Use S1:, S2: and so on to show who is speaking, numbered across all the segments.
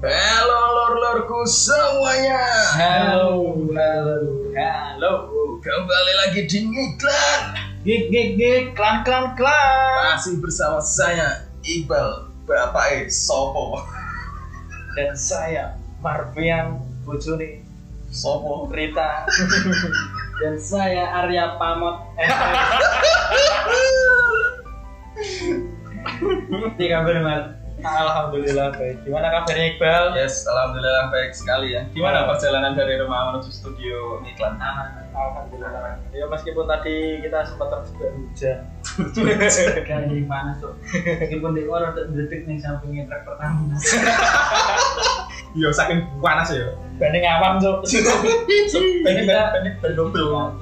S1: Halo lor-lorku semuanya.
S2: Halo, halo, halo.
S1: Kembali lagi di Ngiklan.
S2: Gig, gig, gig, klan, klan, klan.
S1: Masih bersama saya Iqbal Bapak eh, Sopo.
S2: Dan saya Marvian Bojone
S1: Sopo.
S2: Rita. Dan saya Arya Pamot. Di kabar Mas? Alhamdulillah baik. Gimana kabarnya Iqbal?
S1: Yes, alhamdulillah baik sekali ya. Gimana perjalanan dari rumah menuju studio Ngiklan?
S2: Aman. Alhamdulillah. Ya meskipun tadi kita sempat terjebak hujan. Kan di mana tuh? Meskipun di luar untuk detik nih sampingnya truk pertamina.
S1: Yo saking panas ya.
S2: Banding awam tuh.
S1: Pengen
S2: Kita-
S1: pengen
S2: Bela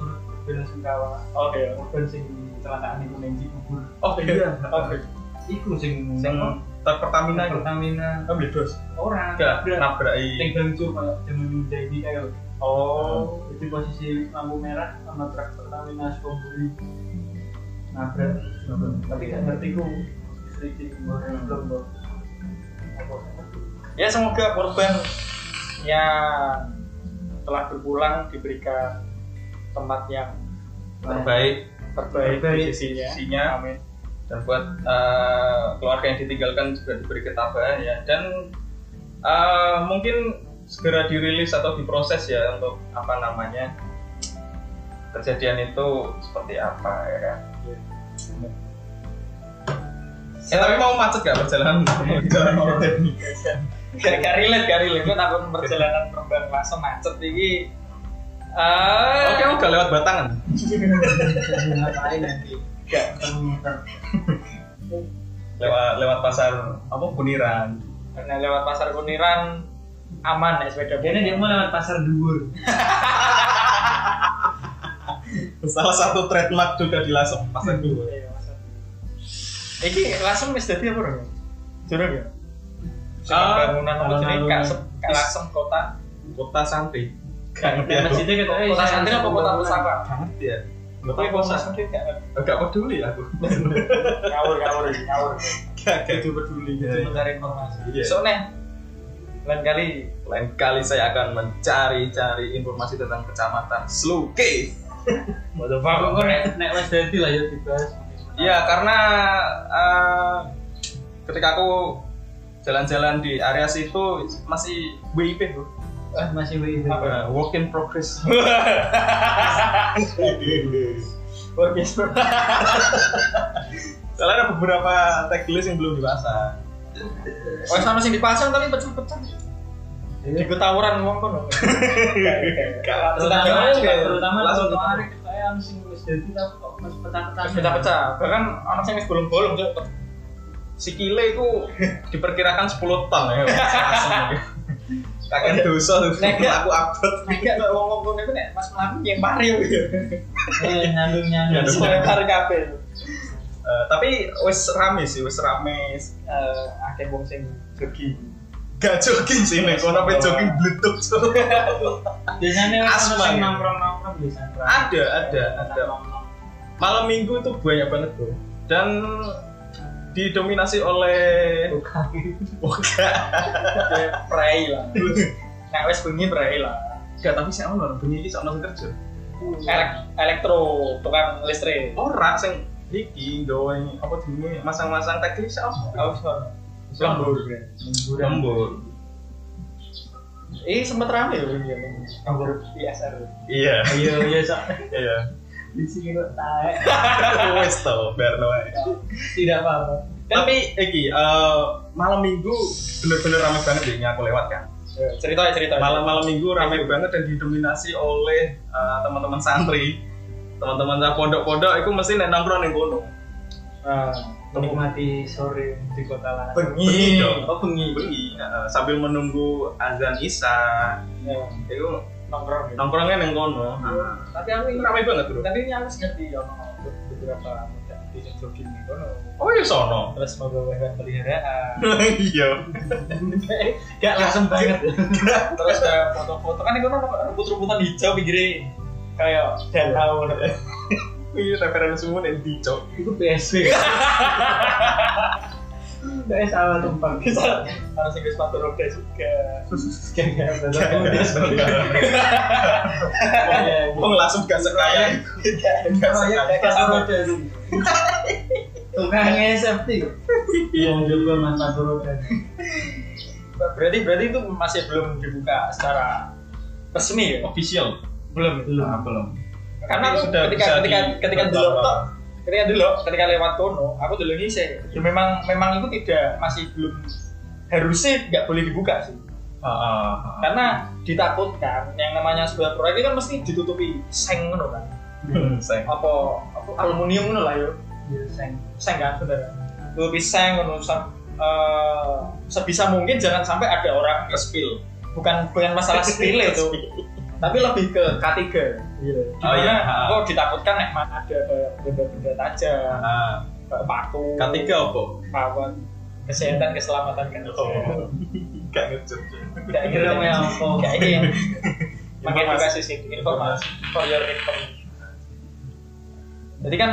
S2: Sungkawa.
S1: Oke.
S2: Korban sing kecelakaan itu yang dikubur.
S1: Oke. Oke. Hmm.
S2: Iku Oh, iya. sing
S1: Sing truk Pertamina itu.
S2: Pertamina.
S1: Ambil dos.
S2: Orang.
S1: Enggak,
S2: Berat.
S1: nabrakin.
S2: Yang bangcu kayak zaman Ninja ini kayak.
S1: Oh.
S2: Jadi posisi lampu merah sama truk Pertamina Sukabumi. Nabrak. Tapi gak ngerti ku. Sedikit goreng belum belum. Ya semoga korban ya telah berpulang diberikan tempat yang
S1: Terbaik
S2: terbaik
S1: Terbaik.
S2: di sisinya.
S1: Sisinya.
S2: Amin.
S1: dan buat eh, keluarga yang ditinggalkan juga diberi ketabahan ya dan eh, mungkin segera dirilis atau diproses ya untuk apa namanya kejadian itu seperti apa ya kan
S2: Iya.
S1: ya tapi mau macet gak perjalanan perjalanan orang ini?
S2: Gak gak relate, gak relate. Kan aku perjalanan perban langsung macet iki. Eh,
S1: oke mau gak lewat batangan
S2: ngapain nanti? Gak
S1: lewat lewat pasar apa buniran
S2: Karena lewat pasar Kuniran aman ya sepeda.
S3: Kayaknya dia mau lewat pasar dubur.
S1: salah satu trademark juga di Lasem pasar dua
S2: Iya, pasar. Iki langsung wis dadi apa Bro? Jurung ya?
S1: Ah,
S2: Ah, bangunan apa jenenge?
S3: alun-alun.
S2: Kak Sep- Kak Langsung kota.
S1: kota santri
S3: Kan masjidnya kata eh,
S2: Kota
S3: saya
S2: santri apa kota
S3: bangunan.
S2: pusaka?
S1: banget ya
S2: Kowe
S1: nggak
S2: kota
S1: apa-apa
S2: santri gak ngerti.
S1: nggak peduli aku
S2: ngawur ngawur ngawur.
S1: Gak itu peduli
S3: Iya,
S2: Itu mencari informasi.
S1: Iya.
S2: So neh lain kali
S1: Lain kali saya akan mencari-cari informasi tentang kecamatan Sluke.
S2: What the
S3: Aku kok nek nek Mas Dedi lah ya dibahas.
S1: Iya, karena eh, ketika aku jalan-jalan di area situ masih WIP bro.
S3: Eh, masih WIB.
S1: Eh, work in progress.
S2: Oke,
S1: Soalnya ada beberapa checklist yang belum dipasang.
S2: Oh, sama sing dipasang tapi pecah-pecah. Iku tawuran wong kono.
S1: Kalah
S3: Terutama terutama
S1: langsung
S3: kalau kemarin saya sing Mas Dedi tapi kok Mas pecah-pecah.
S2: Pecah-pecah. Bahkan ana sing wis bolong-bolong cuk.
S1: sikile itu diperkirakan 10 ton ya. Kakek dosa tuh,
S2: Nek-
S1: aku update.
S2: Nek kok wong kono iku nek Mas mlaku yang mari gitu.
S3: Eh,
S1: Ya,
S3: nyandung-nyandung.
S1: dong.
S2: Suara kare kabeh.
S1: Eh, tapi wis rame sih, wis rame
S2: Eh, akeh wong sing jogi.
S1: gak jogging sih nih kono pe jogging bluetooth tuh
S3: Biasanya orang
S1: Asma,
S3: sing
S1: ya.
S3: nongkrong-nongkrong biasanya.
S1: ada ada ada malam minggu itu banyak banget tuh dan didominasi oleh Oga
S2: Ya, Prei lah. Nek wis bengi prei lah.
S1: gak tapi sih ono bengi iki ono sing kerja
S2: Elek- elektro tukang listrik.
S1: ora sing iki doang apa jenenge masang-masang tag iki sih ono
S2: Aku suara.
S1: lembur
S3: Hiburan.
S1: lembur
S2: Eh, sempet rame ya bengi. Kabar ISR.
S1: iya
S3: Iya, iya, Sak.
S1: iya
S3: Di sini kok taek.
S1: wis to berno ae
S3: Tidak apa-apa.
S1: tapi iki eh, malam minggu bener-bener rame banget deh yang aku lewat kan
S2: cerita ya cerita Iya.
S1: malam-malam minggu ramai banget dan didominasi oleh uh, teman-teman santri teman-teman sa- pondok-pondok itu mesti nek nongkrong ning kono
S2: Ah,
S3: Eh, Menikmati sore di kota Larang.
S1: bengi dong.
S2: oh bengi
S1: bengi uh, sambil menunggu azan isya
S2: Ya,
S1: itu
S2: nongkrong gitu.
S1: nongkrongnya ning kono
S2: Iya. tapi
S1: itu
S2: aku ini
S1: ramai banget bro
S2: tapi ini aku sih ngerti ya ono beberapa muda di jogging di kono
S1: oh ya sono
S2: terus mau bawa hewan peliharaan
S1: iya
S3: Gak langsung banget.
S2: terus kayak foto-foto kan di kono rumput-rumputan hijau pinggirnya kayak danau gitu.
S1: Iya, ini referensi semua nek dicok
S3: Itu PSB. Saya eh, salah tempat.
S2: Bisa harus ikut sepatu roda juga.
S3: Kayak udah
S2: Iya.
S3: Iya,
S1: Wong langsung gak sekaya
S2: Iya.
S1: Gak sekaya
S3: Tukangnya safety. Yang juga Iya, mantan kan. roda.
S2: Berarti berarti itu masih belum dibuka secara resmi ya?
S1: Official
S2: Belum.
S3: Belum.
S1: Ah, belum
S2: Karena
S1: Tapi
S2: aku
S1: sudah
S2: ketika
S1: bisa
S2: ketika
S1: di-
S2: ketika dulu
S1: beberapa-
S2: ketika dulu ketika lewat kono aku dulu ngisi ya memang memang itu tidak masih belum harusnya nggak boleh dibuka sih
S1: Ah, ah, ah.
S2: karena ditakutkan yang namanya sebuah proyek itu kan mesti ditutupi seng ngono kan
S1: Sayang.
S2: apa apa aluminium ngono lah yo Ya,
S3: Biasanya.
S2: seng kan bener tutupi seng ngono sam- eh, sebisa mungkin jangan sampai ada orang
S1: Spill.
S2: bukan bukan masalah spill itu tapi lebih ke K3 gitu.
S1: Oh, iya.
S2: Dimana kok ditakutkan nek mana ada kayak benda-benda tajam
S1: Ah,
S2: kayak paku
S1: ketiga apa?
S2: kawan kesehatan keselamatan kan
S1: Oh. Gak ngejut
S2: Gak ingin
S3: Belum ya, apa?
S2: Gak ingin. Makanya
S1: Informasi.
S2: edukasi sih informasi for your information. Oh, iya, Jadi kan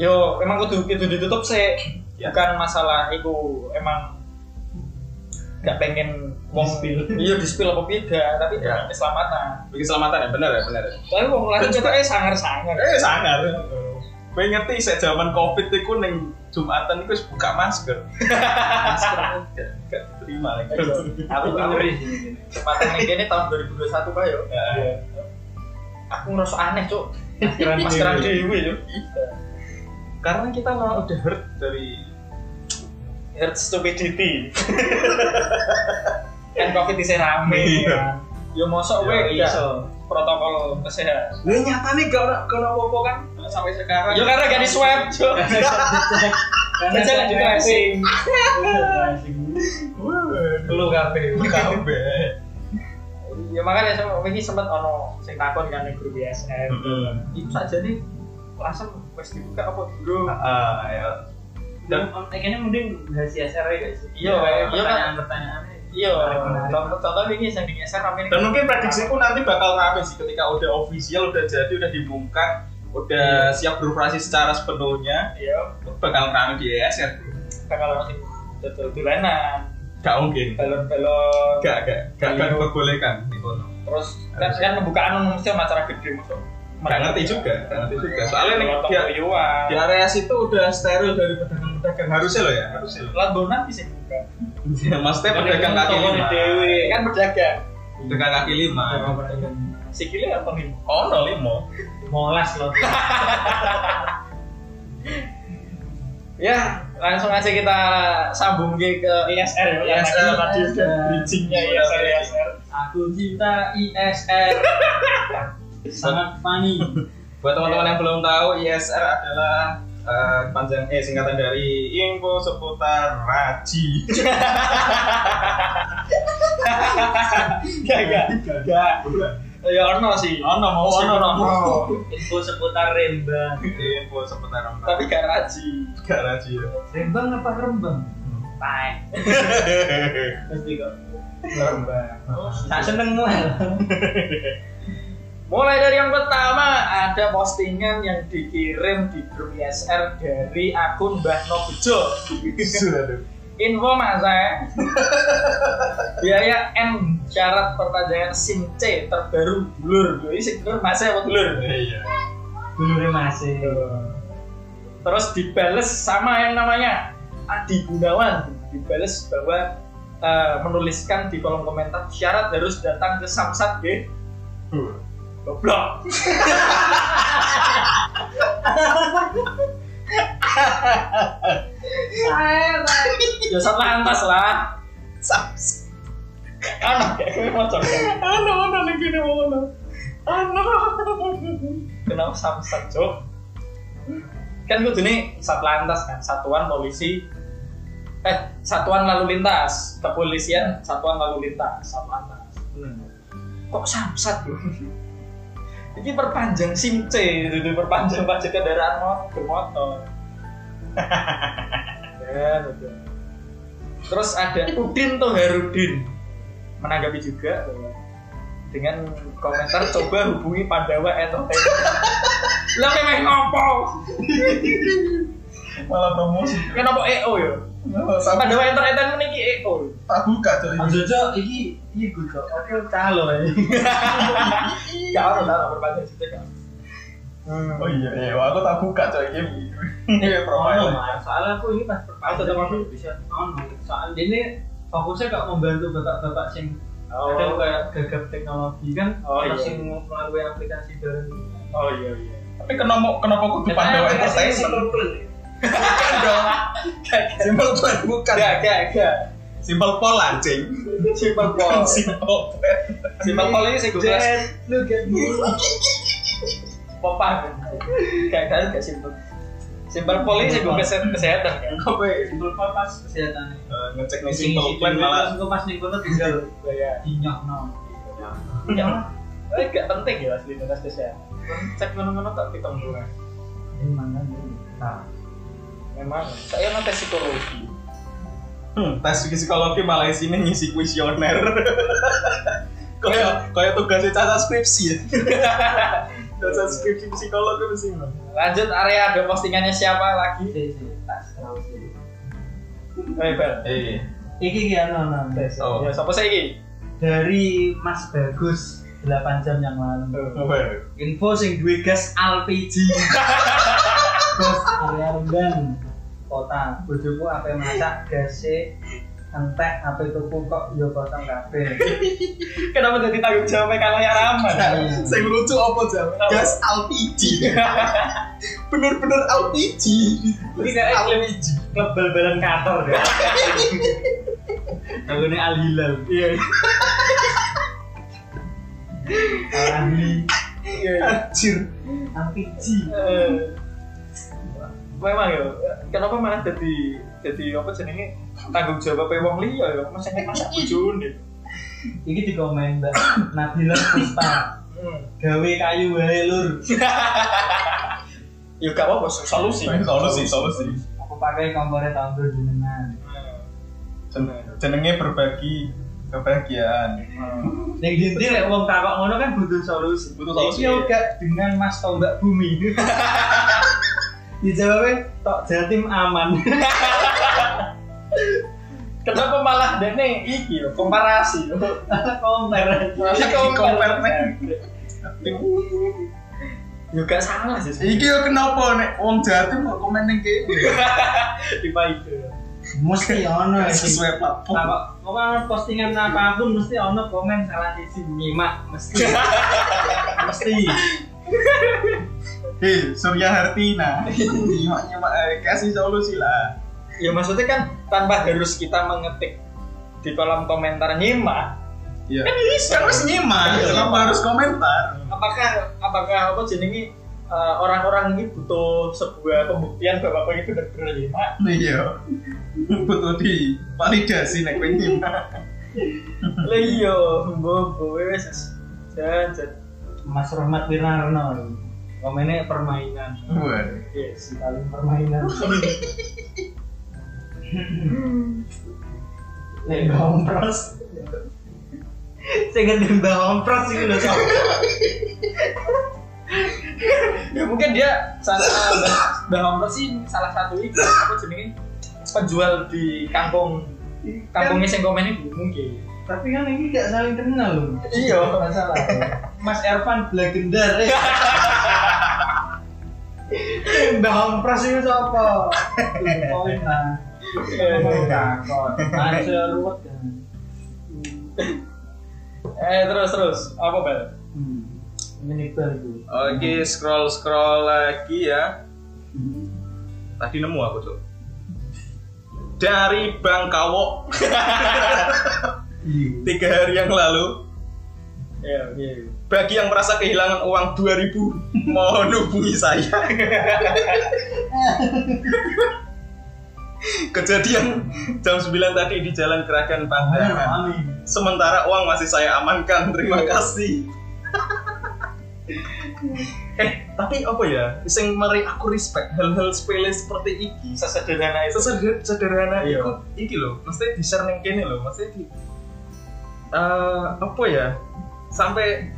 S2: yo emang kudu kudu ditutup sih.
S1: Ya.
S2: Bukan masalah iku emang gak pengen wong
S3: Di-spill.
S2: Iya di spill apa tidak, tapi
S1: Ya.
S2: keselamatan.
S1: Bikin selamatan ya, benar ya, benar ya
S2: Tapi wong lain coba eh sangar-sangar.
S1: Eh, sangar Gue ngerti sejak zaman covid itu neng Jumatan itu wis buka masker Masker gak, gak terima lagi
S2: Aku ngeri
S3: sih.
S2: Kesempatan ini gini tahun 2021 kah yo.
S1: Ya.
S2: Aku ngerasa aneh, Cuk.
S3: Maskeran
S1: Iya,
S2: Maskeran
S3: dewe.
S2: dewe yo.
S1: Karena kita malah udah hurt dari
S2: Herd stupidity. kan covid di rame.
S1: Iya.
S2: Yo mosok kowe
S1: Yo,
S2: gak protokol kesehatan.
S1: Lah nyatane gak ora kena apa-apa kan sampai sekarang.
S2: Yo karena gak di swab, Cuk. Jajal lanjut tracing.
S3: Lu kabeh.
S1: kabeh.
S2: Ya makanya sama wingi sempet ono sing takon kan di grup BSM. Itu saja nih langsung wes dibuka apa dulu?
S1: Heeh, ya.
S3: Dan kayaknya mending hasil SR ya guys.
S2: Iya, iya, kan.
S3: pertanyaannya.
S2: Iya, contoh contoh wingi sing di SR rame
S1: Dan mungkin prediksiku nanti bakal rame sih ketika udah official, udah jadi, udah diumumkan, udah siap beroperasi secara sepenuhnya,
S2: Iya,
S1: bakal rame di E ESR.
S2: bakal ono sing dodol dolanan,
S1: Gak mungkin.
S2: balon-balon.
S1: Gak, gak, gak akan
S2: Iya.
S1: diperbolehkan di kono.
S2: Terus kan kan pembukaan mesti sama acara gede masuk.
S1: Gak ngerti juga, gak ngerti juga. Soalnya nih di,
S2: dia yuan.
S1: di area situ udah steril dari pedagang-pedagang harusnya loh ya, harusnya. loh.
S2: Landonan bisa dibuka.
S1: Ya, maksudnya pedagang kaki
S3: toko
S1: lima.
S3: di Dewi.
S2: Kan berdagang.
S1: Pedagang kaki lima.
S2: Sikile apa nih?
S1: Oh, no limo.
S3: Molas loh.
S2: Ya, langsung aja kita sambung ke ke ISR ya.
S1: ISR.
S2: Karena tadi
S1: Iya,
S2: udah bridgingnya ISR ISR.
S3: Aku cinta ISR. Sangat funny.
S1: Buat teman-teman yang belum tahu, ISR adalah eh, panjang eh singkatan dari info seputar raji.
S2: Enggak, enggak. Enggak. Ya ono sih.
S1: Ono mau ono ono.
S3: Info seputar Rembang.
S1: Info seputar raji.
S2: Tapi gak raji.
S1: gak raji ya.
S3: Rembang apa Rembang? Pai. Pasti kok. Tak seneng mual.
S2: Mulai dari yang pertama ada postingan yang dikirim di grup ISR dari akun Mbah Nobejo. Info mas saya. Biaya N syarat perpanjangan SIM C terbaru blur. Ini sing blur mas saya apa blur.
S1: Iya.
S3: Dulure masih.
S2: Terus dibales sama yang namanya Adi Gunawan. Dibales bahwa eh, menuliskan di kolom komentar syarat harus datang ke Samsat B. Goblok. Ya sat lantas lah.
S1: Sams.
S2: Kan kayak gue mau coba.
S1: Ono ono lagi nih mau ono. Ono.
S2: kenapa samsat cok kan gue ini satlantas kan satuan polisi eh satuan lalu lintas kepolisian satuan lalu lintas satlantas kok samsat bro ini perpanjang sim C itu itu perpanjang pajak kendaraan mo- bermotor Ya, betul. terus ada Udin tuh Harudin menanggapi juga bahwa dengan komentar coba hubungi Pandawa Entertainment lah memang ngopo
S1: Malah promosi.
S2: kan apa EO ya Pada
S1: Sampai
S2: wae entertainment iki eh, oh.
S1: tak buka coy.
S3: Aja cok, iki iki gue cok. Oke, calo eh. ya.
S2: Gak ono ta berbagai cerita gak ono.
S1: Oh iya, iya, aku tak buka coy game. Ini
S3: Ono
S1: profile.
S3: Oh, mas, soalnya aku ini pas Oh, pertama
S2: Ada teman lu?
S3: bisa ono. Soalnya ini fokusnya gak membantu bapak-bapak sing
S2: Oh.
S3: kadang kayak gagap teknologi kan.
S2: Oh,
S3: terus
S2: iya.
S3: sing mempengaruhi aplikasi dari.
S2: Oh iya iya.
S1: Tapi kenapa kenapa aku depan
S3: Karena
S1: dewa
S3: Eh, aplikasi ini
S1: entertainment?
S3: simple plan.
S1: Bukan dong. Simple plan bukan.
S2: Gak gak gak.
S1: Simple pol anjing.
S2: Simple ball.
S1: Simple plan.
S2: Simple ball ini sing gue kelas
S3: Jet, lu get me.
S2: popan. Gak gak gak simple. Simple ball ini sing gue kelas kesehatan. kan.
S3: Kowe simple plan pas kesehatan.
S1: Eh, Ngecek nih
S3: Sing
S1: simple
S3: isi
S1: plan
S3: duit,
S1: malah
S3: terus engko pas ning kono tinggal
S2: Ya.
S3: dinyokno.
S2: Ya. Eh gak penting ya asli lintas kesehatan. Cek ngono-ngono tak pitung bulan.
S3: Ini mana ini? Nah,
S2: Memang saya nonton psikologi.
S1: Hmm, tes psikologi malah isinya ngisi kuesioner. Kayak kayak tugasnya caca skripsi ya. caca skripsi psikologi mesti ngono.
S2: Lanjut area ada postingannya siapa lagi?
S3: sih, sih, tak tahu sih.
S2: Rebel.
S1: Eh,
S3: Iki iki ano ano.
S1: Oh.
S2: Ya, siapa saya ini?
S3: Dari Mas Bagus 8 jam yang lalu.
S1: apa ya?
S3: Info sing duwe gas LPG. gas area rendang kota. Bojoku ape masak gase entek ape tuku kok yo kosong kabeh.
S2: Kenapa jadi tanggung jawabnya kalau yang ramah?
S1: Saya lucu apa jam? Gas LPG. Bener-bener LPG.
S2: Ini kayak
S1: LPG.
S3: Klub bal-balan kantor ya. Aku ini Al Hilal.
S1: Iya.
S3: Ahli
S2: Iya,
S1: Anjir.
S3: LPG.
S2: Eh, Memang ya. Kenapa malah jadi jadi apa jenenge tanggung jawab wong liya ya? Mas nek masak bojone.
S3: Iki di komen Mbak Nabila Puspa.
S2: Hmm.
S3: Gawe kayu wae lur.
S2: Ya gak apa-apa solusi.
S1: Solusi, solusi.
S3: Aku pakai kompornya tahun dulu jenengan.
S1: Jeneng- Jenenge berbagi kebahagiaan.
S2: Hmm.
S3: Yang dinti lek wong takok ngono kan butuh solusi.
S1: Butuh solusi,
S3: Iki
S1: iya.
S3: yoga dengan Mas Tombak Bumi. Dijawabnya tok Jatim aman.
S2: Kenapa malah dene iki ya komparasi?
S3: Komper.
S2: Masih
S1: compare, Nek.
S2: Ya gak salah sih.
S1: Iki yo kenapa nek wong jatim kok komen ning kene?
S2: tiba itu.
S3: Mesti ono ya.
S1: Nah, Sesuai platform.
S3: Takok apa postingan apapun mesti ono komen salah sisi nyimak mesti. mesti.
S1: Hei, Surya Hartina. Nyimak-nyimak ae, kasih solusi lah.
S2: Ya maksudnya kan tanpa harus kita mengetik di kolom komentar nyimak
S1: Iya.
S2: kan bisa
S1: Harus nyimak,
S2: Iya.
S1: kenapa harus komentar?
S2: apakah apakah apa jenenge eh, orang-orang ini butuh sebuah pembuktian bahwa apa itu benar-benar nyimak
S1: Iya. Butuh di validasi nek kowe nyimak.
S2: lah iya bobo wes dan dan
S3: Mas Rahmat Wirnarno. Komennya permainan.
S1: Waduh.
S2: yes
S3: Paling permainan. Nek Mbak Ompros. Sing ngerti Mbak Ompros iki lho sapa?
S2: ya mungkin dia salah Mbah Omro sih salah satu itu apa jenenge penjual di kampung kampungnya sing komen itu mungkin
S3: Tapi kan ini gak saling kenal loh.
S2: Iya.
S3: masalah. Mas Ervan Blagendar. ya. Mbak Ompros itu sapa? Poin lah. Ngomong takon. Masih ruwet kan.
S2: eh terus terus apa bel
S3: Hmm. Ini bal itu.
S1: Oke, scroll scroll lagi ya. Tadi nemu aku tuh. Dari Bangkawo
S3: Iya.
S1: tiga hari yang lalu.
S2: ya iya iya.
S1: Bagi yang merasa kehilangan uang 2000 mohon hubungi saya. Kejadian jam 9 tadi di Jalan Keragan Pangandaran.
S3: Amin.
S1: Sementara uang masih saya amankan. Terima kasih. eh, tapi apa ya? Sing mari aku respect hal-hal sepele seperti iki.
S2: sesederhana itu
S1: Seseder- sederhana
S2: Iya.
S1: itu iki loh. Mesti di share ning kene loh. Mesti di Eh, apa ya? Sampai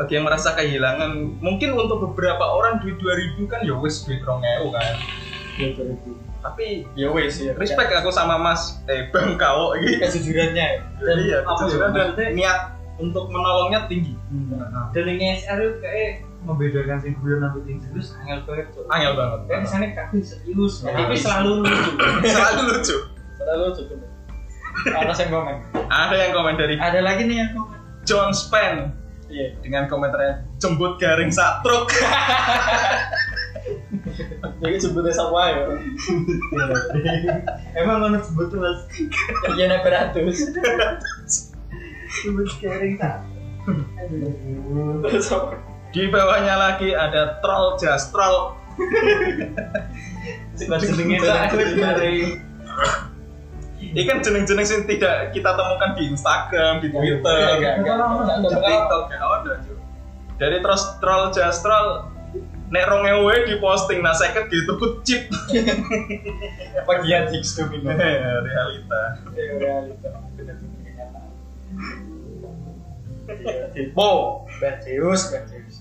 S1: bagi yang merasa kehilangan mungkin untuk beberapa orang duit 2000 kan ya wis duit 2000 kan
S3: Ya, begitu.
S1: Eh, tapi ya wes ya respect
S4: Iya.
S1: aku sama mas eh bang kau gitu
S2: kejujurannya ya.
S1: dan
S4: Iya,
S1: apa
S4: betul.
S1: juga dan
S3: Maksudnya-
S1: niat untuk menolongnya tinggi Nah,
S3: Hmm. Dan yang SR itu kayak membedakan sing guyon nanti sing serius angel banget tuh.
S1: angel banget
S3: Kan
S4: Iya.
S3: misalnya kafe serius,
S2: Nah,
S3: tapi
S2: tapi selalu lucu
S1: selalu lucu
S2: selalu lucu tuh ada yang komen
S1: ada yang komen dari
S3: ada lagi nih yang komen.
S1: John Span
S2: iya
S1: dengan komentarnya jembut garing satruk
S2: jadi sebutnya siapa ya
S3: Iya. Emang ngono sebut tuh mas,
S2: iya naik beratus
S3: sebut sharing tak. Aduh.
S2: terus apa
S1: di bawahnya lagi ada troll jas troll
S2: Sudah jenengnya dari dari
S1: ini kan jeneng-jeneng sih tidak kita temukan di Instagram
S3: Iya,
S1: di
S3: Gitu,
S2: Enggak,
S1: Twitter
S2: enggak, enggak.
S3: Enggak,
S1: di
S2: Enggak, enggak.
S1: TikTok gak ada cuy. dari terus troll jas troll nek rong ewe di posting nah seket gitu kucip
S2: Bagian Higgs domino.
S1: realita
S2: gitu, Iya, realita. Benar-benar kenyataan. Iya, di-
S1: wow
S2: Mbak Deus, Mbak Deus.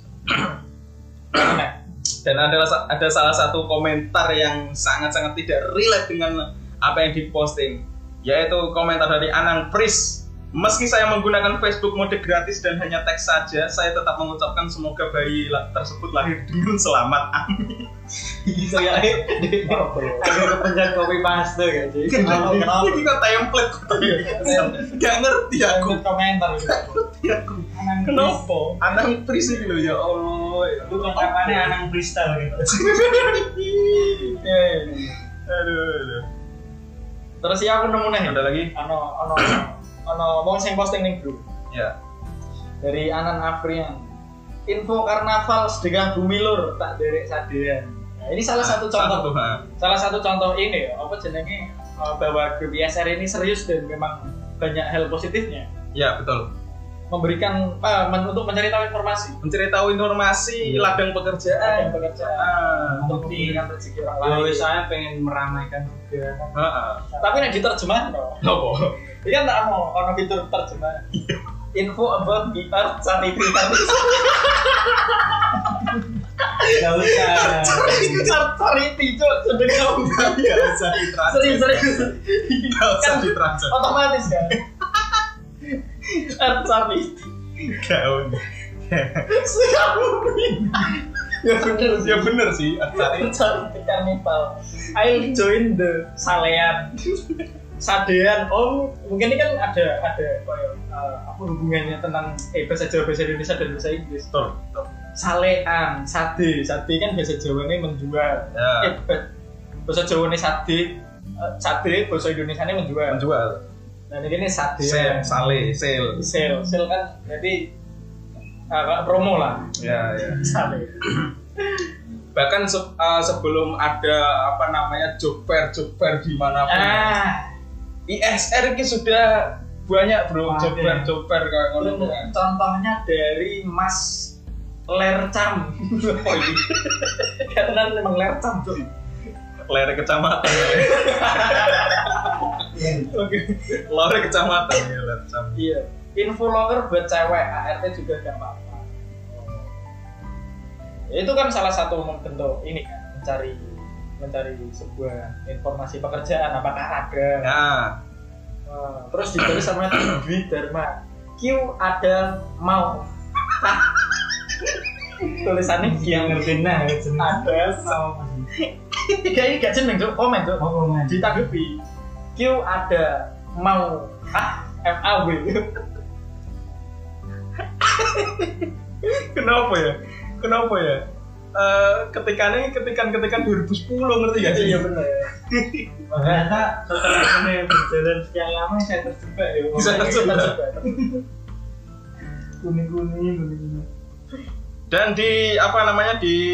S1: dan ada ada salah satu komentar yang sangat-sangat tidak relate dengan apa yang diposting yaitu komentar dari Anang Pris meski saya menggunakan Facebook mode gratis dan hanya teks saja saya tetap mengucapkan semoga bayi la- tersebut lahir dengan selamat amin
S2: Gitu ya, eh. Agak kepencet kopi paste ya, jadi kenapa kenapa? Iya,
S1: ini kok template gak ngerti aku
S2: Ikut komentar gitu.
S1: aku
S3: Anang Pris.
S1: kenapa Anang Pris ini loh ya Allah ya
S3: Itu
S2: kan
S3: kontrakannya Anang Kristal gitu.
S2: Iya, iya, iya.
S1: aduh, aduh.
S2: Terus ya aku nemu nih.
S1: ada lagi
S2: Ano ano ano wong sing posting ning grup
S1: ya
S2: dari Anan Afrian. Info karnaval sedekah bumi lur tak derek sadean. Nah, ini salah satu
S1: satu,
S2: contoh
S1: ha.
S2: salah satu contoh ini ya, apa jenenge uh, bahwa grup ISR ini serius dan memang banyak hal positifnya
S1: ya betul
S2: memberikan uh, men- untuk mencari tahu informasi
S1: mencari tahu informasi ladang
S2: dan
S1: pekerjaan
S2: pekerjaan
S1: Ah,
S2: untuk memberikan rezeki orang
S3: Ya,
S2: lain.
S3: wes, saya pengen meramaikan juga.
S1: ah, ah.
S2: Tapi nek diterjemahan no.
S1: Apa?
S2: Ini kan tak mau ono fitur terjemahan. Info about gitar charity tapi
S3: Gak usah.
S2: charity cok sedekah
S1: Iya, Gak usah ditranslate.
S2: serius serius
S1: Gak usah
S2: Kan-
S1: ditranslate.
S2: otomatis kan. Art charity.
S1: Gak usah.
S2: Siapa Ya bener sih.
S1: Ya bener sih, Aksari.
S2: cari karnival I'll join the salean sadean oh mungkin ini kan ada ada kayak eh, apa hubungannya tentang eh, bahasa Jawa bahasa Indonesia dan bahasa Inggris
S1: Betul, betul.
S2: salean sade sade kan bahasa Jawa ini menjual eh,
S1: Ya,
S2: bah- bahasa Jawa ini sade eh, sade bahasa Indonesia ini menjual
S1: menjual.
S2: dan Nah, ini sade
S1: Sale, sale, sale.
S2: sale sale kan jadi eh, promo lah
S1: Ya, ya.
S2: sale
S1: Bahkan se- eh, sebelum ada apa namanya job fair, job fair dimanapun.
S2: ah
S1: ISR ini sudah banyak bro,
S3: Wah,
S1: job
S3: iya.
S1: fair, job fair kayak ngono kan.
S2: Contohnya dari Mas Lercam. Oh iya. Karena memang Lercam tuh.
S1: Lere kecamatan.
S2: Oke.
S1: Lere kecamatan ya, lere kecamatan.
S2: Iya. Info logger buat cewek ART juga gak apa-apa. Itu kan salah satu bentuk ini kan mencari mencari sebuah informasi pekerjaan apakah ada.
S1: Nah,
S2: Eh, Terus ditulis sama Dwi Dharma. Q ada mau. Tulisannya
S3: Yang
S2: Q
S3: ngerti nah, senang.
S2: ada
S3: Sama
S2: Tiga ini gak jeneng cok, komen cok
S3: Mau ngomong.
S2: Ditanggapi Q ada mau ah MAW
S1: kenapa ya? Kenapa ya? Eh, ketikannya ketikan-ketikan 2010 ngerti gak sih?
S2: Iya, bener
S3: Ternyata setelah ini ya, berjalan sekian lama saya terjebak ya.
S1: Bisa terjebak.
S3: Kuning kuning kuning kuning.
S1: dan di apa namanya di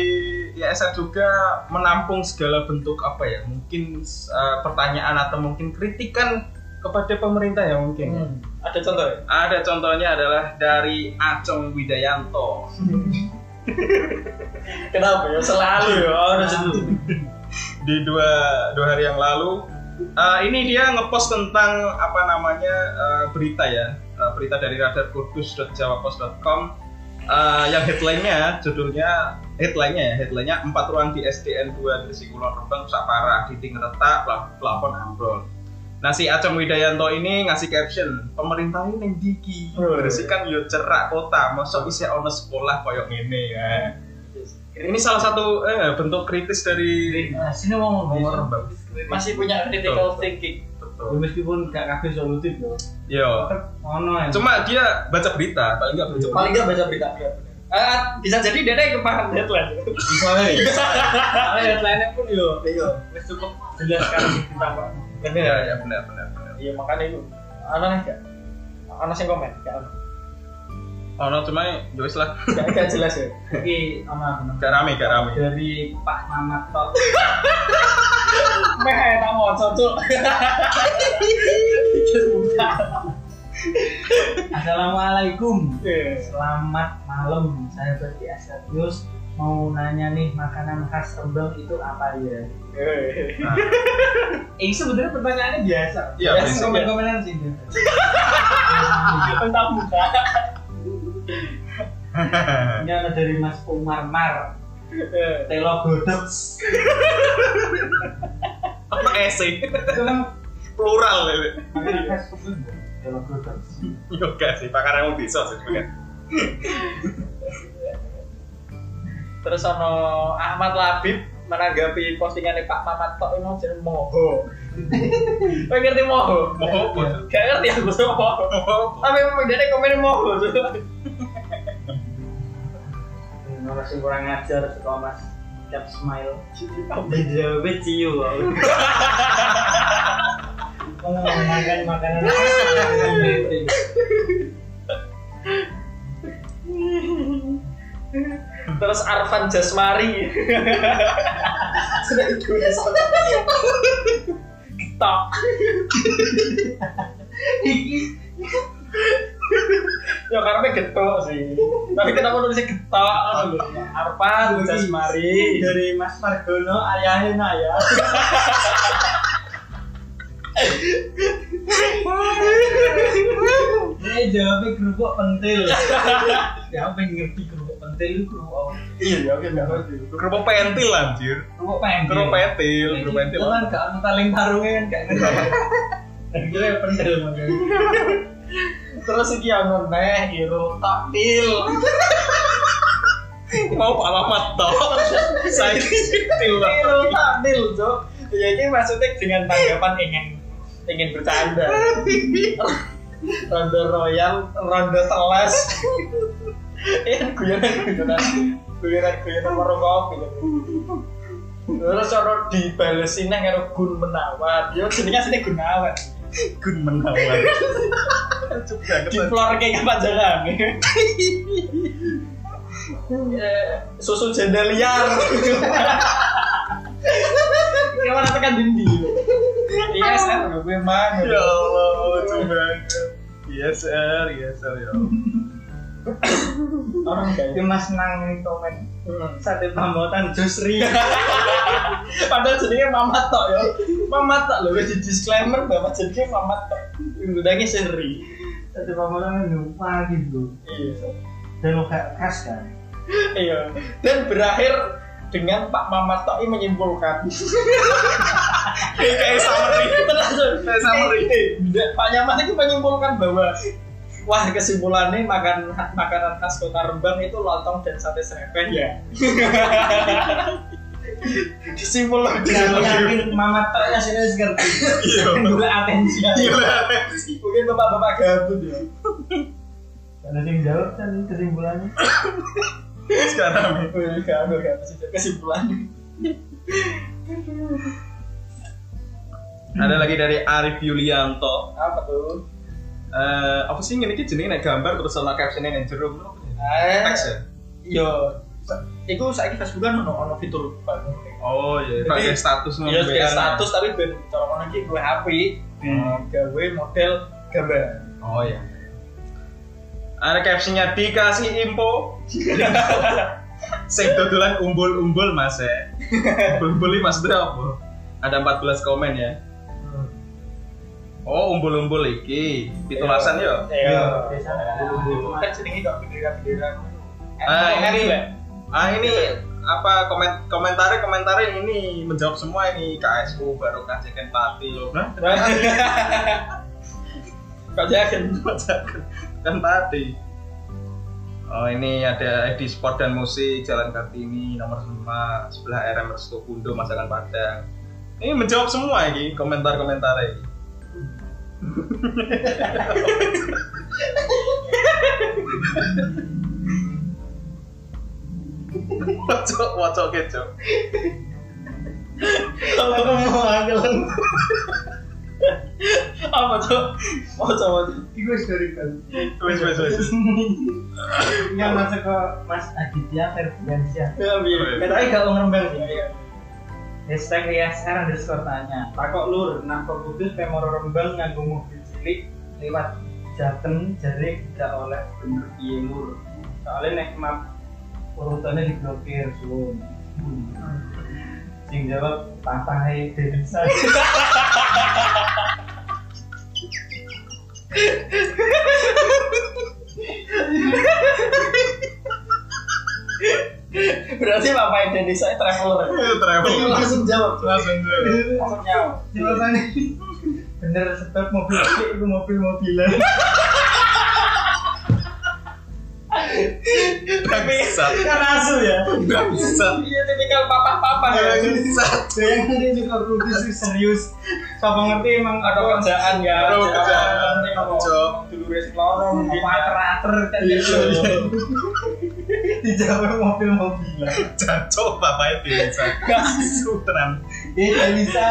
S1: ISR juga menampung segala bentuk apa ya mungkin eh, pertanyaan atau mungkin kritikan kepada pemerintah ya mungkin
S2: Ada contoh ya?
S1: ada contohnya adalah dari Acong Widayanto
S2: Kenapa ya? Selalu ya orang itu
S1: di dua dua hari yang lalu Eh, ini dia ngepost tentang apa namanya eh, berita ya Eh, berita dari radarkudus.jawapos.com Eh, yang headline-nya judulnya headline-nya ya, headline-nya empat ruang di SDN 2 Gresik Kulon Rembang rusak parah, dinding retak, pla- plafon ambrol. Nah si Aceng Widayanto ini ngasih caption, pemerintah ini neng diki,
S2: Oh.
S1: bersih kan yo cerak kota, masuk isi ono sekolah koyok ngene ya. Ini salah satu eh, bentuk kritis dari
S3: Nah, sini mau
S1: Kulon
S3: ngomong
S1: Rembang.
S2: masih punya critical thinking
S3: Ya,
S1: Betul.
S3: meskipun gak kabeh solutif loh.
S1: Yo,
S3: Ono ya.
S1: cuma dia baca berita, paling nggak baca
S2: paling nggak baca berita ya Ah, bisa jadi dia yang kemarin deadline
S3: bisa
S2: eh.
S3: wae. Soalnya headline-nya pun yo
S2: iya
S3: wis cukup jelas kan ditambah.
S1: berita. Ya, ya benar benar benar.
S2: iya makanya itu anak nih gak anak sih komen gak ada.
S1: Oh no, cuma ya wis lah,
S2: gak gak jelas ya
S3: Iki ana bener.
S1: gak rame gak rame.
S3: dari Pak Mamat Tok.
S2: meh tak mau cocok
S3: Assalamualaikum. Selamat malam, saya Berti Asadius mau nanya nih makanan khas Rembang itu apa ya?
S1: Nah,
S3: Eh sebenarnya pertanyaannya biasa.
S1: Iya,
S3: biasa
S1: basic,
S3: komen-komenan sih.
S2: tentang muka
S3: Ini ada dari Mas Umar Mar, Telo Godok.
S1: apa ese?
S3: Itu kan
S1: Plural lele.
S3: makanan khas Rembang. Telo Godok.
S1: Yo gak sih, pakar yang bisa sih sebenarnya.
S2: terus ono Ahmad Labib menanggapi postingannya Pak Mamat Tok ini mau jadi moho Kau ngerti moho?
S1: Moho apa?
S2: Gak ngerti aku sama moho Tapi memang dia ada komen moho
S3: Hmm, Orang sih kurang ajar suka Mas Cap Smile. Dijawabnya ciu. Kalau makan makanan khas Rembang.
S2: Terus Arfan Jasmari Sudah itu Tok Ya karena getok sih Tapi kenapa nulisnya getok Arfan Jasmari
S3: dari Mas Margono ayahnya Naya. Ini jawabnya kerupuk pentil. Siapa yang ngerti kerupuk pentil itu kerupuk apa?
S2: Iya oke gak ngerti Iya.
S1: Kerupuk pentil anjir.
S3: kerupuk pentil.
S1: Kerupuk pentil, kerupuk
S3: Kerupuk
S1: pentil.
S3: Kan gak ada taling tarungnya kan gak ngerti. Dan gila ya pentil makanya.
S2: Terus iki ono neh iru taktil
S1: Mau Pak Mamat toh. Saya kecil lah.
S2: Tiru takdil, Cok. Ya ini maksudnya dengan tanggapan ingin ingin bercanda. Rondo royal, rondo telas. Ini guyonan guyonan guyonan guyonan warung kopi. Terus ono dibalesin nang karo Gun Menawan. Yo jenenge sini Gunawan.
S1: Gun menawan. Lucu banget.
S2: Di floor kayak kepanjangan. Eh, Susu janda liar. Kayak mana tekan dindi. Iya, saya gue mana.
S1: Ya Allah, lucu banget. Yes sir, yes sir ya. Allah.
S2: Orang
S3: Tapi
S2: kayak
S3: Mas nang komen sate pambotan Jusri.
S2: Padahal jadinya mamat tok ya. Mamat tok lho wis di disclaimer bahwa jadinya mamat tok. Ngundangnya seri.
S3: Sate pambotan lupa gitu.
S2: Iya. so.
S3: Dan gak khas kan.
S2: Iya. Dan berakhir dengan Pak Mamat Toi menyimpulkan.
S1: Eh, Kayak summary.
S2: Saya
S1: summary.
S2: Pak Nyaman itu menyimpulkan bahwa wah kesimpulannya makan makanan khas kota Rembang itu lontong dan sate serepeh ya.
S1: Iya.
S2: Disimpulkan
S3: Gak yakin Mamat Tok ya sini ngerti.
S1: Iya.
S3: Gula atensi.
S1: Gila.
S2: Mungkin bapak-bapak gabut ya.
S3: Ada yang jawab kan kesimpulannya.
S1: Sekarang nih.
S2: Wih, Gabut gabut sih kesimpulannya.
S1: ada lagi dari Arif Yulianto.
S2: Apa tuh?
S1: Eh, apa sih ini jenenge nek gambar terus sama captionnya nek jero ngono apa ya?
S2: Eh,
S1: Teks ya?
S2: Yo, Iku saiki Facebookan ono ono fitur baru.
S1: Oh iya,
S2: Jadi-
S1: pakai status nang
S2: Iya,
S1: WA.
S2: sebagai status tapi ben cara ngono iki gue HP.
S1: Hmm.
S2: eh, Gawe model gambar.
S1: Oh iya. Ada captionnya dikasih info. Sing dodolan umbul-umbul mas ya. Umbul-umbul ini maksudnya apa? Ada 14 komen ya.
S2: Hmm.
S1: Oh umbul-umbul iki. Pitulasan yo. Iya.
S2: Iya.
S3: biasa.
S2: Kan jenenge kok bendera-bendera ngono.
S1: Ah,
S2: Eh,
S1: ini.
S2: Mbak.
S1: Ah ini apa komen komentari komentari ini menjawab semua ini KSU baru kasih Pati loh nah kok jagen kok jagen Pati oh ini ada Edi Sport dan Musik Jalan Kartini nomor 5 sebelah RM Resto Kundo Masakan Padang ini menjawab semua ini komentar komentar ini wacok wacok kecok
S2: Kalau mau angkelan. Apa tuh? Oh, Mau coba tuh.
S3: Iku historical.
S1: wes wes wes
S3: Yang masuk ke Mas Aditya Ferdiansyah.
S2: Ya, biar.
S1: Oh, iya.
S3: Katanya gak mau ya. ngembang sih. Hashtag ISR underscore tanya. Takok lur, nangko putus pemoro rembang nganggo mobil cilik lewat jaten jari gak oleh bener piye lur. Soalnya nek map urutannya diblokir suwun. Sing jawab tatahe dening saya.
S2: Berarti Bapak Indonesia itu traveler.
S1: travel
S2: Langsung jawab.
S1: Iya, langsung dulu
S2: Langsung jawab.
S3: Jawabannya bener sebab mobil cilik itu mobil mobilan.
S1: nggak bisa
S3: Kan asu ya.
S1: nggak bisa
S2: Iya, tipikal papa-papa ya.
S1: nggak bisa
S3: Yang tadi juga produksi serius. Siapa ngerti emang
S2: Ada kerjaan ya.
S1: Ada kerjaan,
S2: Nanti mau
S1: job.
S2: Dulu wes lorong.
S3: Apa
S2: gimana?
S3: terater kan
S2: Iya.
S3: gitu. Dijawab mobil-mobilan.
S1: jancok bapak itu bisa sutran
S3: Ini gak bisa.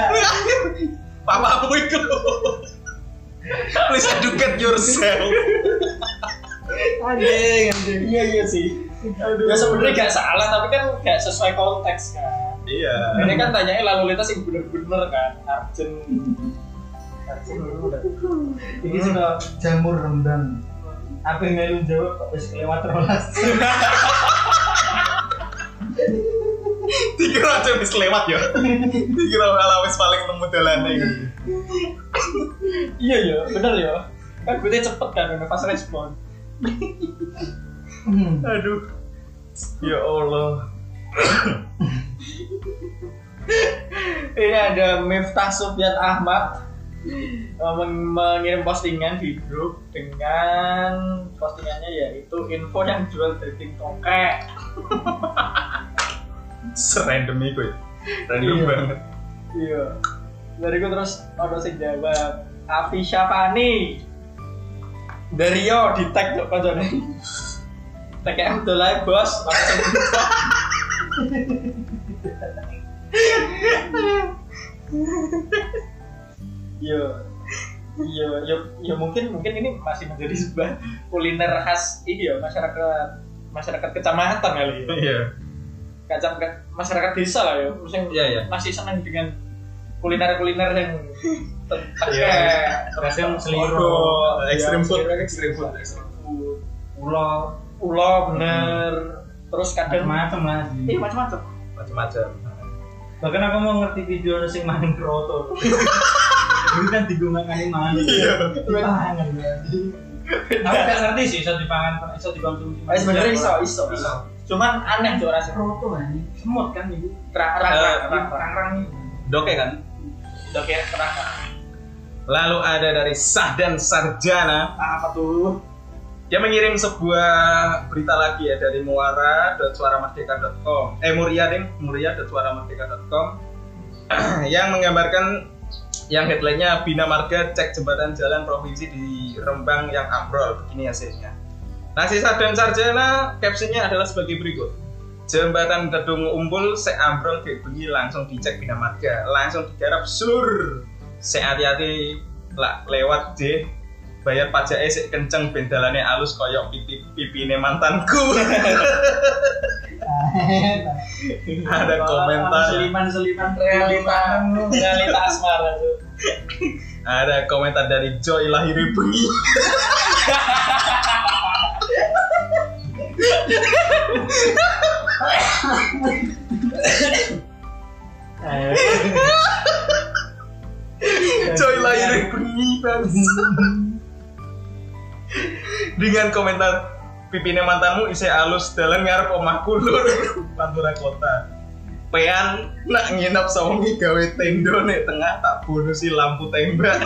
S1: papamu itu please educate yourself
S3: Anjing, anjing.
S2: Iya iya sih. Ya sebenarnya gak salah tapi kan gak sesuai konteks kan.
S1: iya
S2: Ini kan tanyanya lalu lintas yang bener-bener kan. Arjen. Arjen dulu udah.
S3: Ini sudah jamur rendang. Apa yang melu jawab kok wis kelewat rolas.
S1: dikira aja wis lewat ya dikira ala wis paling nemu dalane gitu
S2: Iya ya, bener ya. Kan gue cepet kan, udah fast respon.
S3: Hmm.
S1: aduh ya Allah
S2: Ini ada Miftah Sufyan Ahmad eh, men- mengirim postingan di grup dengan postingannya yaitu info yang jual dating tokek.
S1: serandom itu ya random
S2: Iya.
S1: banget
S2: Iya. Dari gue terus ada sing jawab Afi Syafani dari yo di tag tuh kancane. Tag yang udah live bos. Langsung. Yo. Yo, yo, yo Iya, ya, mungkin mungkin ini masih menjadi sebuah kuliner khas ini ya masyarakat masyarakat kecamatan kali ya.
S1: iya
S2: Kecamatan masyarakat desa lah ya. Terus yang-
S1: iya iya
S2: masih senang dengan kuliner-kuliner yang
S1: Iya.
S3: Kadang
S1: Waduh,
S2: ekstrim
S1: extreme food.
S2: ekstrim Iya, food, ekstrim food.
S3: Pulau
S2: Ulo bener, Hmm. terus kadang
S3: macam-macam lah.
S2: iya macam-macam.
S1: macam-macam
S3: Bahkan aku mau ngerti video sing maning kroto. Ini kan digunakan maning.
S1: iya
S3: Dipangan ya. Aku gak ngerti sih iso dipangan iso dikonsumsi.
S2: Eh sebenarnya iso, iso, iso. Cuman aneh tuh rasanya.
S3: Kroto kan ini semut kan itu.
S2: Terang, terang,
S1: Eh,
S2: terang, terang, terang.
S3: Rang-rang ini.
S1: doke kan
S2: Udah kayak terang. terang.
S1: lalu ada dari Sahdan Sarjana
S2: Ah, Apa tuh?
S1: Dia mengirim sebuah berita lagi ya dari muara.suaramerdeka.com Eh Muria ding, muria.suaramerdeka.com Yang menggambarkan yang headline-nya Bina Marga cek jembatan jalan provinsi di Rembang yang ambrol Begini hasilnya Nah, Nasi Sardan Sarjana captionnya adalah sebagai berikut Jembatan Gedung Umbul sek ambrol kayak bengi langsung dicek Bina Marga Langsung digarap sur Sek hati-hati lah lewat deh bayar pajak sik kenceng ben dalane alus koyok pipi pipine mantanku ada komentar
S3: seliman-seliman
S2: Realita, realita asmara tuh.
S1: ada komentar dari Joy lahir bengi
S2: Hmm.
S1: Joy lahir bengi bangsa. dengan komentar pipine mantanmu isih alus dalan ngarep omahku lur pantura kota pean nak nginep sawengi gawe tenda nek tengah tak bonusi lampu tembak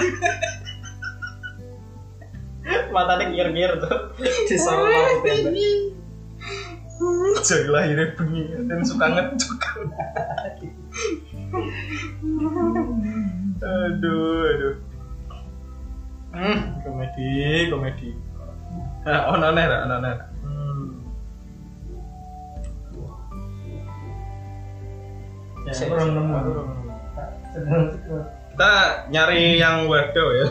S2: matanya ngir-ngir tuh disorot lampu tembak
S1: jadi lahirnya bengi dan suka ngecuk aduh aduh
S2: hmm.
S1: komedi komedi nah, ono neh ra, ono neh ra.
S2: hmm. Ya,
S3: Saya kurang nemu.
S2: aku kurang nemu.
S1: kita nyari yang waduh ya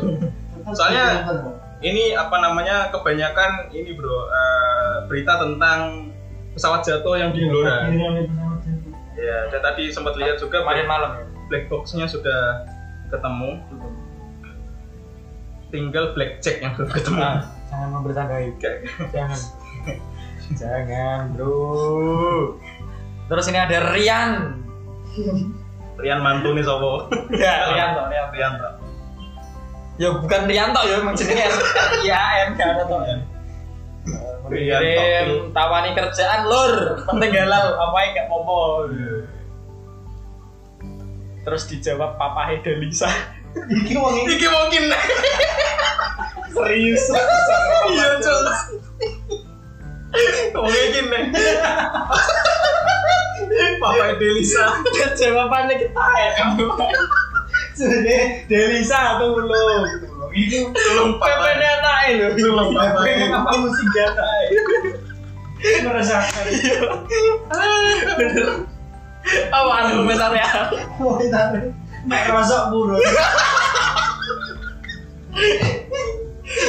S1: Soalnya-
S3: Nonton, Bro.
S1: ini apa namanya kebanyakan ini bro eh, berita tentang pesawat jatuh yang di Blora
S3: Akhirnya oleh pesawat jatuh.
S1: ya dan tadi sempat lihat juga
S2: kemarin
S1: black,
S2: malam ya
S1: black boxnya sudah ketemu tinggal black jack yang belum ketemu
S2: Nah, jangan membertanggai
S1: Kayak-
S2: jangan jangan
S1: bro
S2: terus ini ada Rian
S1: Rian mantu nih sopo
S2: ya Rian toh Rian
S1: Rian tak
S2: ya bukan Rian toh ya emang jenenge IAN Iya, gak ada toh ya
S3: Iya,
S1: Rian
S2: Kirim tawani kerjaan lur penting halal apa yang gak popo terus dijawab papa Hedelisa
S3: Iki wong iki
S1: Iki mungkin
S2: serius
S1: iya cok mungkin nih Papa Delisa
S2: jawabannya kita ya kamu jadi Delisa atau belum
S3: Iki
S1: tolong Papa
S2: PPN anake lho
S1: tolong Papa
S3: pengen apa musik gata meresahkan
S2: bener apa argumentarnya
S3: Wah, tapi mek rosok buru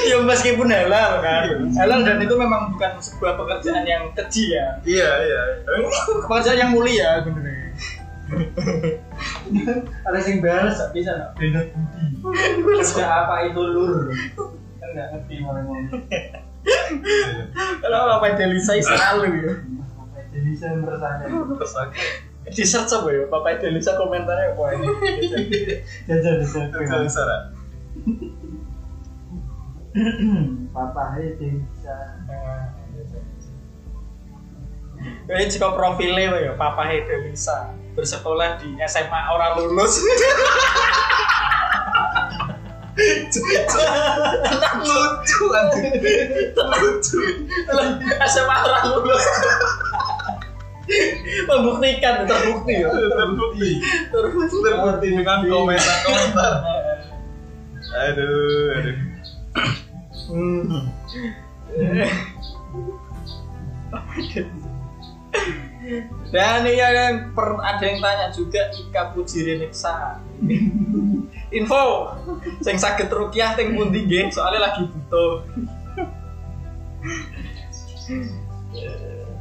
S2: ya meskipun halal kan
S3: Iya,
S2: halal dan itu memang bukan sebuah pekerjaan yang keji ya
S1: iya iya
S2: pekerjaan yang mulia bener
S3: ada sing bales gak bisa no Denot budi kerja apa itu lur kan gak ngerti ngomong
S2: kalau apa Delisa selalu ya
S3: jadi saya meresahkan
S2: di search apa ya Bapak Indonesia komentarnya apa ya? Nah, ini
S3: jajan jajan
S1: Terus Sarah.
S3: papahnya bisa
S2: gitu. ini jika profilnya apa ya Papa Indonesia bersekolah di SMA orang lulus
S1: lucu anjing lucu
S2: SMA orang lulus membuktikan terbukti ya
S1: terbukti
S2: terus
S1: terbukti dengan komentar komentar aduh aduh
S2: Hmm. dan ini ada yang per, ada yang tanya juga Ika Pujiri Reksa info sing sakit rukiah ting pundi nggih soalnya lagi butuh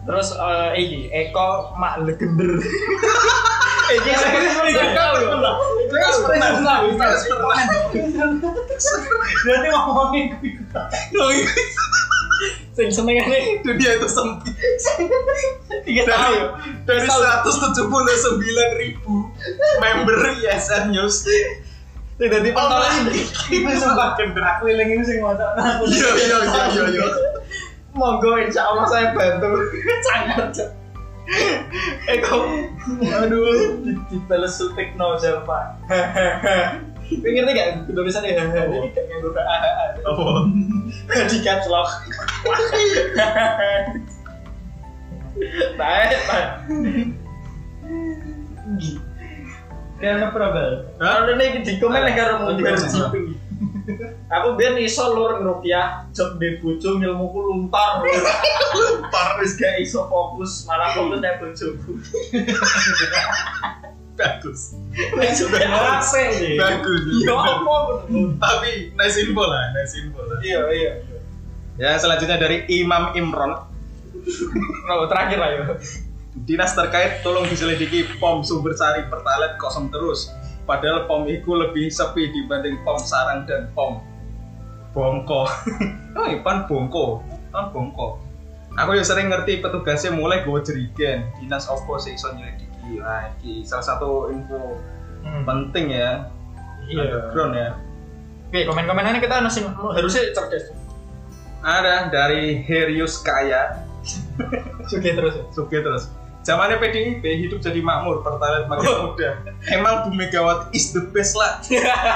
S2: terus eh iki Eko mak legender iki sing Eko lho.
S1: Terus
S2: Iya,
S1: pernah, terus pernah.
S3: berarti ngomongin
S2: sing senengane
S1: Dunia itu sempit.
S2: tiga tahun
S1: Dari,
S2: ya.
S1: dari
S2: Tahu.
S1: 179 ribu member
S2: E
S1: ISN News.
S2: tidak
S1: Online
S2: dipentolan
S3: itu
S2: Iya,
S3: sumpah aku ilang ini sing ngocok aku
S1: Yo yo yo yo yo.
S2: monggo insya Allah saya bantu sangat Eko aduh di- dibales sutik no Pak Gue ngerti ya? gak tulisannya hahaha ini gak nganggo hahaha
S1: Apa?
S2: di catlok Tae, tae.
S3: dan probel
S1: Hah?
S2: Kalau ini di komen nih karo
S1: Oh,
S2: mung
S1: di
S2: biar
S1: komen.
S2: jipi. Aku biar iso lur ngerupiah job di bojo ilmuku luntar. luntar wis gak iso fokus, malah fokus nek bojoku.
S1: Bagus.
S2: Wis juga rasa iki.
S1: Bagus.
S2: Yo Ya apa bener.
S1: Tapi nice info lah, nice info lah.
S2: Iya, iya.
S1: Ya selanjutnya dari Imam Imron.
S2: Kalau Oh, terakhir lah ya. yo.
S1: Dinas terkait tolong diselidiki pom sumber sari pertalite kosong terus. Padahal pom itu lebih sepi dibanding pom sarang dan pom bongko. oh, Ipan bongko. Pan bongko. Aku ya sering ngerti petugasnya mulai gue jerigen. Dinas opo sih iso nyelidiki. Nah, iki salah satu info penting ya.
S2: Iya.
S1: Underground ya.
S2: Oke, komen-komenannya kita nasi harusnya cerdas.
S1: Ada dari Herius Kaya.
S2: Suge terus ya?
S1: Suge terus. Zamannya PDIP hidup jadi makmur, pertalite makin muda. Emang Bu Megawati is the best lah.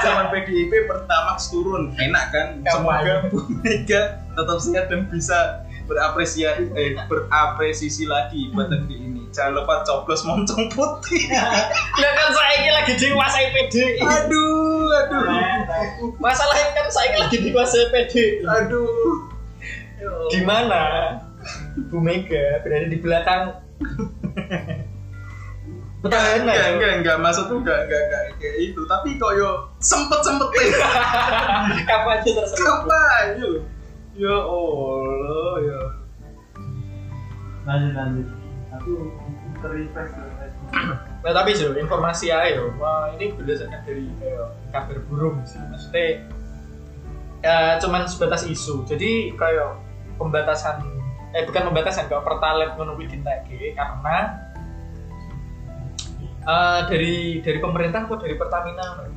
S1: Zaman PDIP pertamax turun, enak kan? Semoga Bu Mega tetap sehat dan bisa berapresiasi eh, berapresiasi lagi buat negeri ini. Jangan lupa coblos moncong putih.
S2: Lah kan saiki lagi dikuasai PDI.
S1: aduh, aduh,
S2: Masalahnya kan saiki lagi dikuasai PDI.
S1: aduh.
S2: Di mana Bu Mega berada di belakang
S1: Enggak,
S2: Petahana
S1: enggak,
S2: ya?
S1: enggak, enggak, maksud tuh enggak, enggak, enggak, kayak itu. Tapi kok yo sempet sempetin.
S2: kapan aja tersebut.
S1: Kapan yo? Ya Allah, ya.
S3: lanjut lanjut aku terrefresh terrefresh.
S2: Nah, tapi Jo, informasi aja yo. Wah, ini berdasarkan dari eh, kabar burung sih. Maksudnya ya, cuman sebatas isu. Jadi kayak pembatasan eh bukan pembatasan kalau pertalite menunggu ditagih karena eh, dari dari pemerintah kok dari Pertamina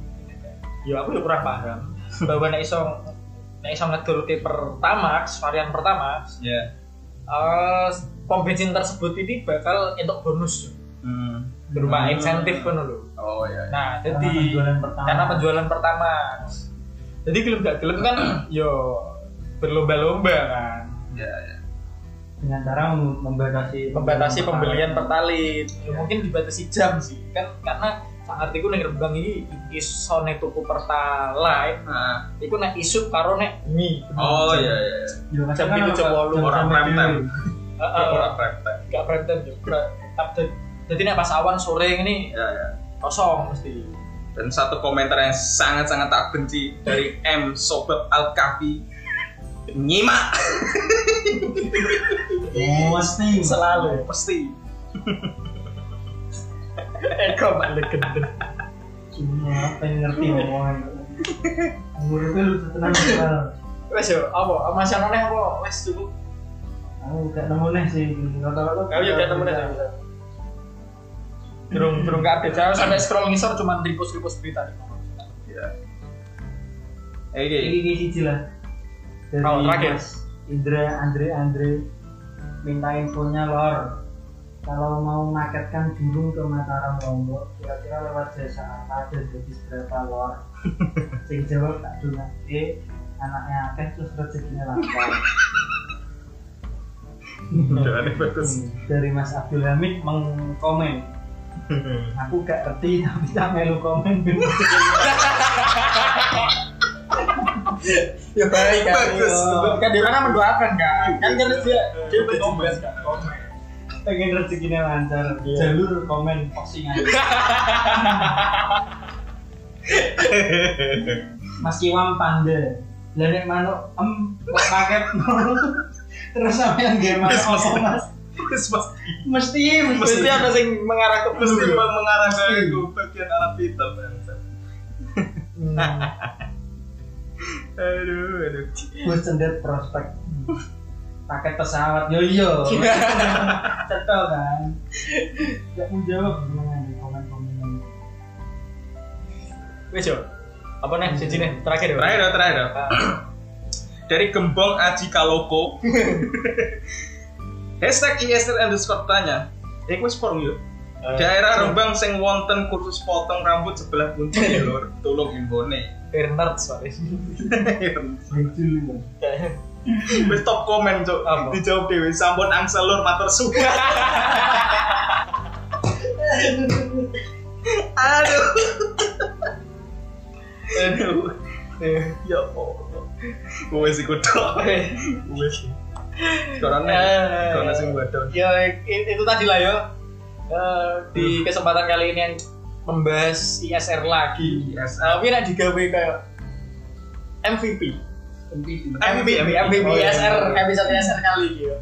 S2: ya aku ya kurang paham bahwa nek iso nek iso ngedulke Pertamax varian Pertamax
S1: Ya.
S2: eh pom bensin tersebut ini bakal entuk bonus
S1: Hmm.
S2: berupa
S1: Hmm.
S2: insentif kan lho.
S1: Oh ya.
S2: Nah,
S3: Karena
S2: jadi
S3: penjualan pertama.
S2: karena penjualan pertama. Jadi gelem gak gelem kan yo berlomba-lomba kan
S1: Ya, ya.
S3: dengan cara mem- membatasi
S2: membatasi pembelian pertalite. Ya, mungkin dibatasi jam sih kan karena saat itu nih Rembang ini iso nek tuku pertalite
S1: Nah.
S2: iku nek isu karo nek bengi.
S1: Oh ya, ya. ya.
S3: Ya,
S2: Jam
S3: kadang
S2: pintu
S3: kan
S2: jam wolu,
S3: jam-
S1: orang
S3: jam
S1: prime time.
S3: pintu.
S2: Heeh,
S1: Orang praktek.
S2: gak prenten juga. Tapi- Jadi nek pas awan sore ini
S1: Ya, ya.
S2: kosong mesti.
S1: Dan satu komentar yang sangat-sangat tak benci dari M Sobat Al Kafi. Nyimak
S3: Iya, Mesti
S2: Selalu.
S1: pasti.
S2: Eko balik gendut.
S3: cuma pengen Iya, ngerti ngomongan muridnya lu tenang Pak.
S2: Wes yo, apa? Mas Yanone apa? Wes cukup.
S3: aku gak nemu nih sih rata-rata
S2: Aku juga nemu nih. iya, Durung durung kabeh. Saya sampai scroll ngisor cuma repost-repost berita.
S1: Ya.
S3: ini
S1: Oke.
S3: ini siji lah dari
S2: Oh, terakhir.
S3: Mas Indra Andre Andre minta infonya lor kalau mau marketkan burung ke Mataram Lombok kira-kira lewat jasa apa dan jadi berapa lor sing jawab tak dulu eh anaknya akeh terus rezekinya lancar
S1: Jawabannya bagus.
S3: dari Mas Abdul Hamid mengkomen aku gak ngerti tapi tak melu komen
S2: Ya baik
S1: kan.
S2: Kan dia karena mendoakan kan.
S1: Iya.
S2: Kan kan dia dia berkomen.
S3: pengen rezekinya lancar
S2: Iya.
S3: jalur komen postingan Mas Kiwam Panda Lenek manuk em kok paket terus sampean game mas apa mas
S1: Terus pas
S3: mesti
S2: Mesti
S3: mesti
S2: ada yang mengarah ke
S1: mesti mengarah ke
S3: Mesti.
S1: itu, bagian alat hitam. ya. Aduh, aduh.
S3: bos cendet prospek paket pesawat yo yo cetol kan gak mau jawab gimana nih komen komen
S2: Wes yo. Apa nih siji nih terakhir ya?
S1: Terakhir dong, terakhir dong. dari Gembong Aji Kaloko hashtag ISR underscore tanya Iku wis porong yuk
S2: Eh,
S1: daerah Rembang sing wonten kursus potong rambut sebelah puncak
S2: Iya.
S1: ya lur tolong imbone
S2: Bernard soalnya.
S3: lucu lu
S1: wis top komen cok
S2: Apa?
S1: dijawab dewe sampun angsel lur matur suwun aduh aduh
S2: Iya.
S1: ya Allah wis iku tok wis Corona,
S2: Eh.
S1: corona sing wadon.
S2: ya i- itu tadi lah ya Eh,
S1: Hmm.
S2: di kesempatan kali ini yang membahas ISR lagi
S1: ISR.
S2: tapi nak digawe kayak MVP MVP
S1: MVP.
S2: MVP
S1: Oh, iya.
S2: ISR episode ISR kali ini ya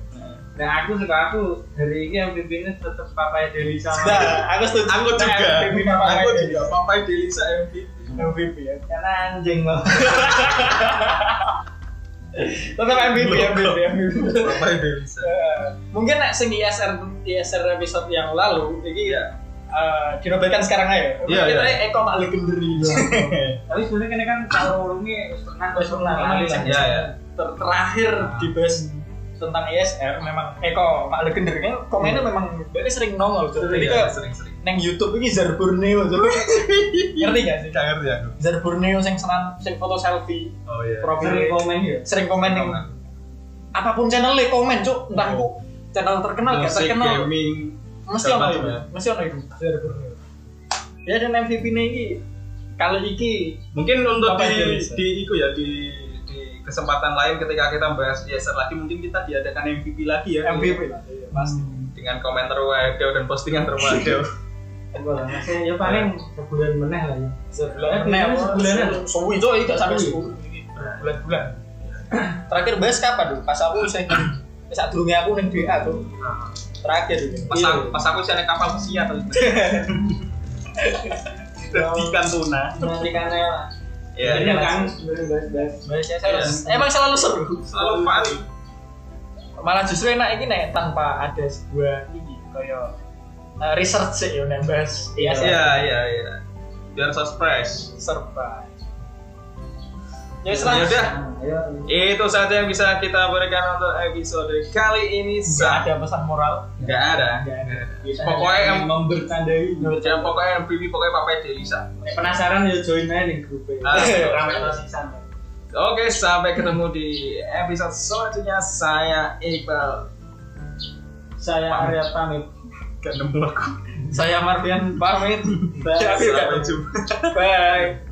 S3: nah aku suka aku hari ini yang pimpinnya tetap papa Deli
S2: nah
S3: sama
S2: aku setuju
S1: Aku
S2: Nah,
S1: juga.
S2: MVP Papa
S1: Aku
S2: Edi.
S1: juga. Papai Delisa MVP.
S2: MVP ya
S3: karena anjing loh
S2: tetap MVP MVP MVP
S1: Papai Delisa.
S2: Eh, mungkin nek sing ISR ISR episode yang lalu iki ya eh, dinobatkan sekarang aja.
S1: Iya,
S2: Kita
S1: iya.
S2: Eko Pak Legender ini.
S3: tapi sebenarnya kene kan kalau ngulungi wis pernah wis pernah lali lah.
S1: ya ya
S2: Ter- terakhir dibahas tentang ISR memang Eko Pak Legender kan komennya memang dia sering ya? nongol tuh. Jadi
S1: Iya,
S2: kayak
S1: sering-sering
S2: neng YouTube ini Zar Borneo tuh. Ngerti gak sih?
S1: nggak ngerti aku
S2: Zar Borneo yang senang sing foto selfie
S1: oh iya
S3: Sering
S2: profil
S3: komen ya.
S2: sering komen yang
S1: Komen. Iya.
S2: apapun channelnya komen cuk entah kok channel terkenal gak
S1: musik
S2: terkenal
S1: gaming
S2: mesti
S1: segala macam
S2: ono itu
S1: ya.
S2: mesti ono itu Zar Borneo ya dan MVP ini iki kalau iki
S1: mungkin untuk
S2: Apa aja
S1: di
S2: bisa?
S1: di iku ya di di kesempatan lain ketika kita bahas ISR lagi mungkin kita diadakan MVP lagi ya
S2: MVP lah iya, pasti
S1: dengan komentar wadah dan postingan terwadah
S3: Enggak lah,
S1: Iya.
S3: masih ya paling sebulan meneh lah ya.
S2: sebulan
S3: Eh,
S2: meneh
S3: sebulanan.
S2: sewu itu iya gak sampai
S3: Sewu.
S2: sepuluh bulan-bulan terakhir bahas kapan tuh pas aku saya saat dulu aku neng DA tuh terakhir ini
S1: pas aku, pas aku sih naik kapal pesiar dari ikan tuna
S3: Nanti kan ya.
S1: ya
S3: Ini
S1: ya.
S3: kan sebenarnya bahas-bahas.
S2: Bahasnya
S1: Iya.
S2: ya, saya emang selalu seru
S1: selalu pari
S2: malah justru enak ini nek tanpa ada sebuah ini kayak eh, research sih yang bahas iya sih.
S1: iya iya iya biar surprise
S2: serba
S1: ya
S2: ya setelah
S1: udah
S3: Ayo.
S1: itu saja yang bisa kita berikan untuk episode kali ini
S2: nggak
S1: Sa.
S2: ada pesan moral
S1: nggak ada
S2: nggak ada
S1: Iya, Pokoknya
S2: Saya
S1: em-
S2: membertandai
S1: ya pokoknya MVP pokoknya Papa Delisa
S3: Penasaran ya join aja nih grupnya.
S1: Ah,
S2: iya.
S3: Rame rasisan.
S1: Oke, sampai ketemu di episode selanjutnya. Saya Iqbal.
S3: Saya
S1: Pamit.
S3: Arya pamit.
S1: Gak nemu aku.
S2: saya Marvian pamit
S3: Bye.
S2: Sampai
S1: jumpa.
S2: bye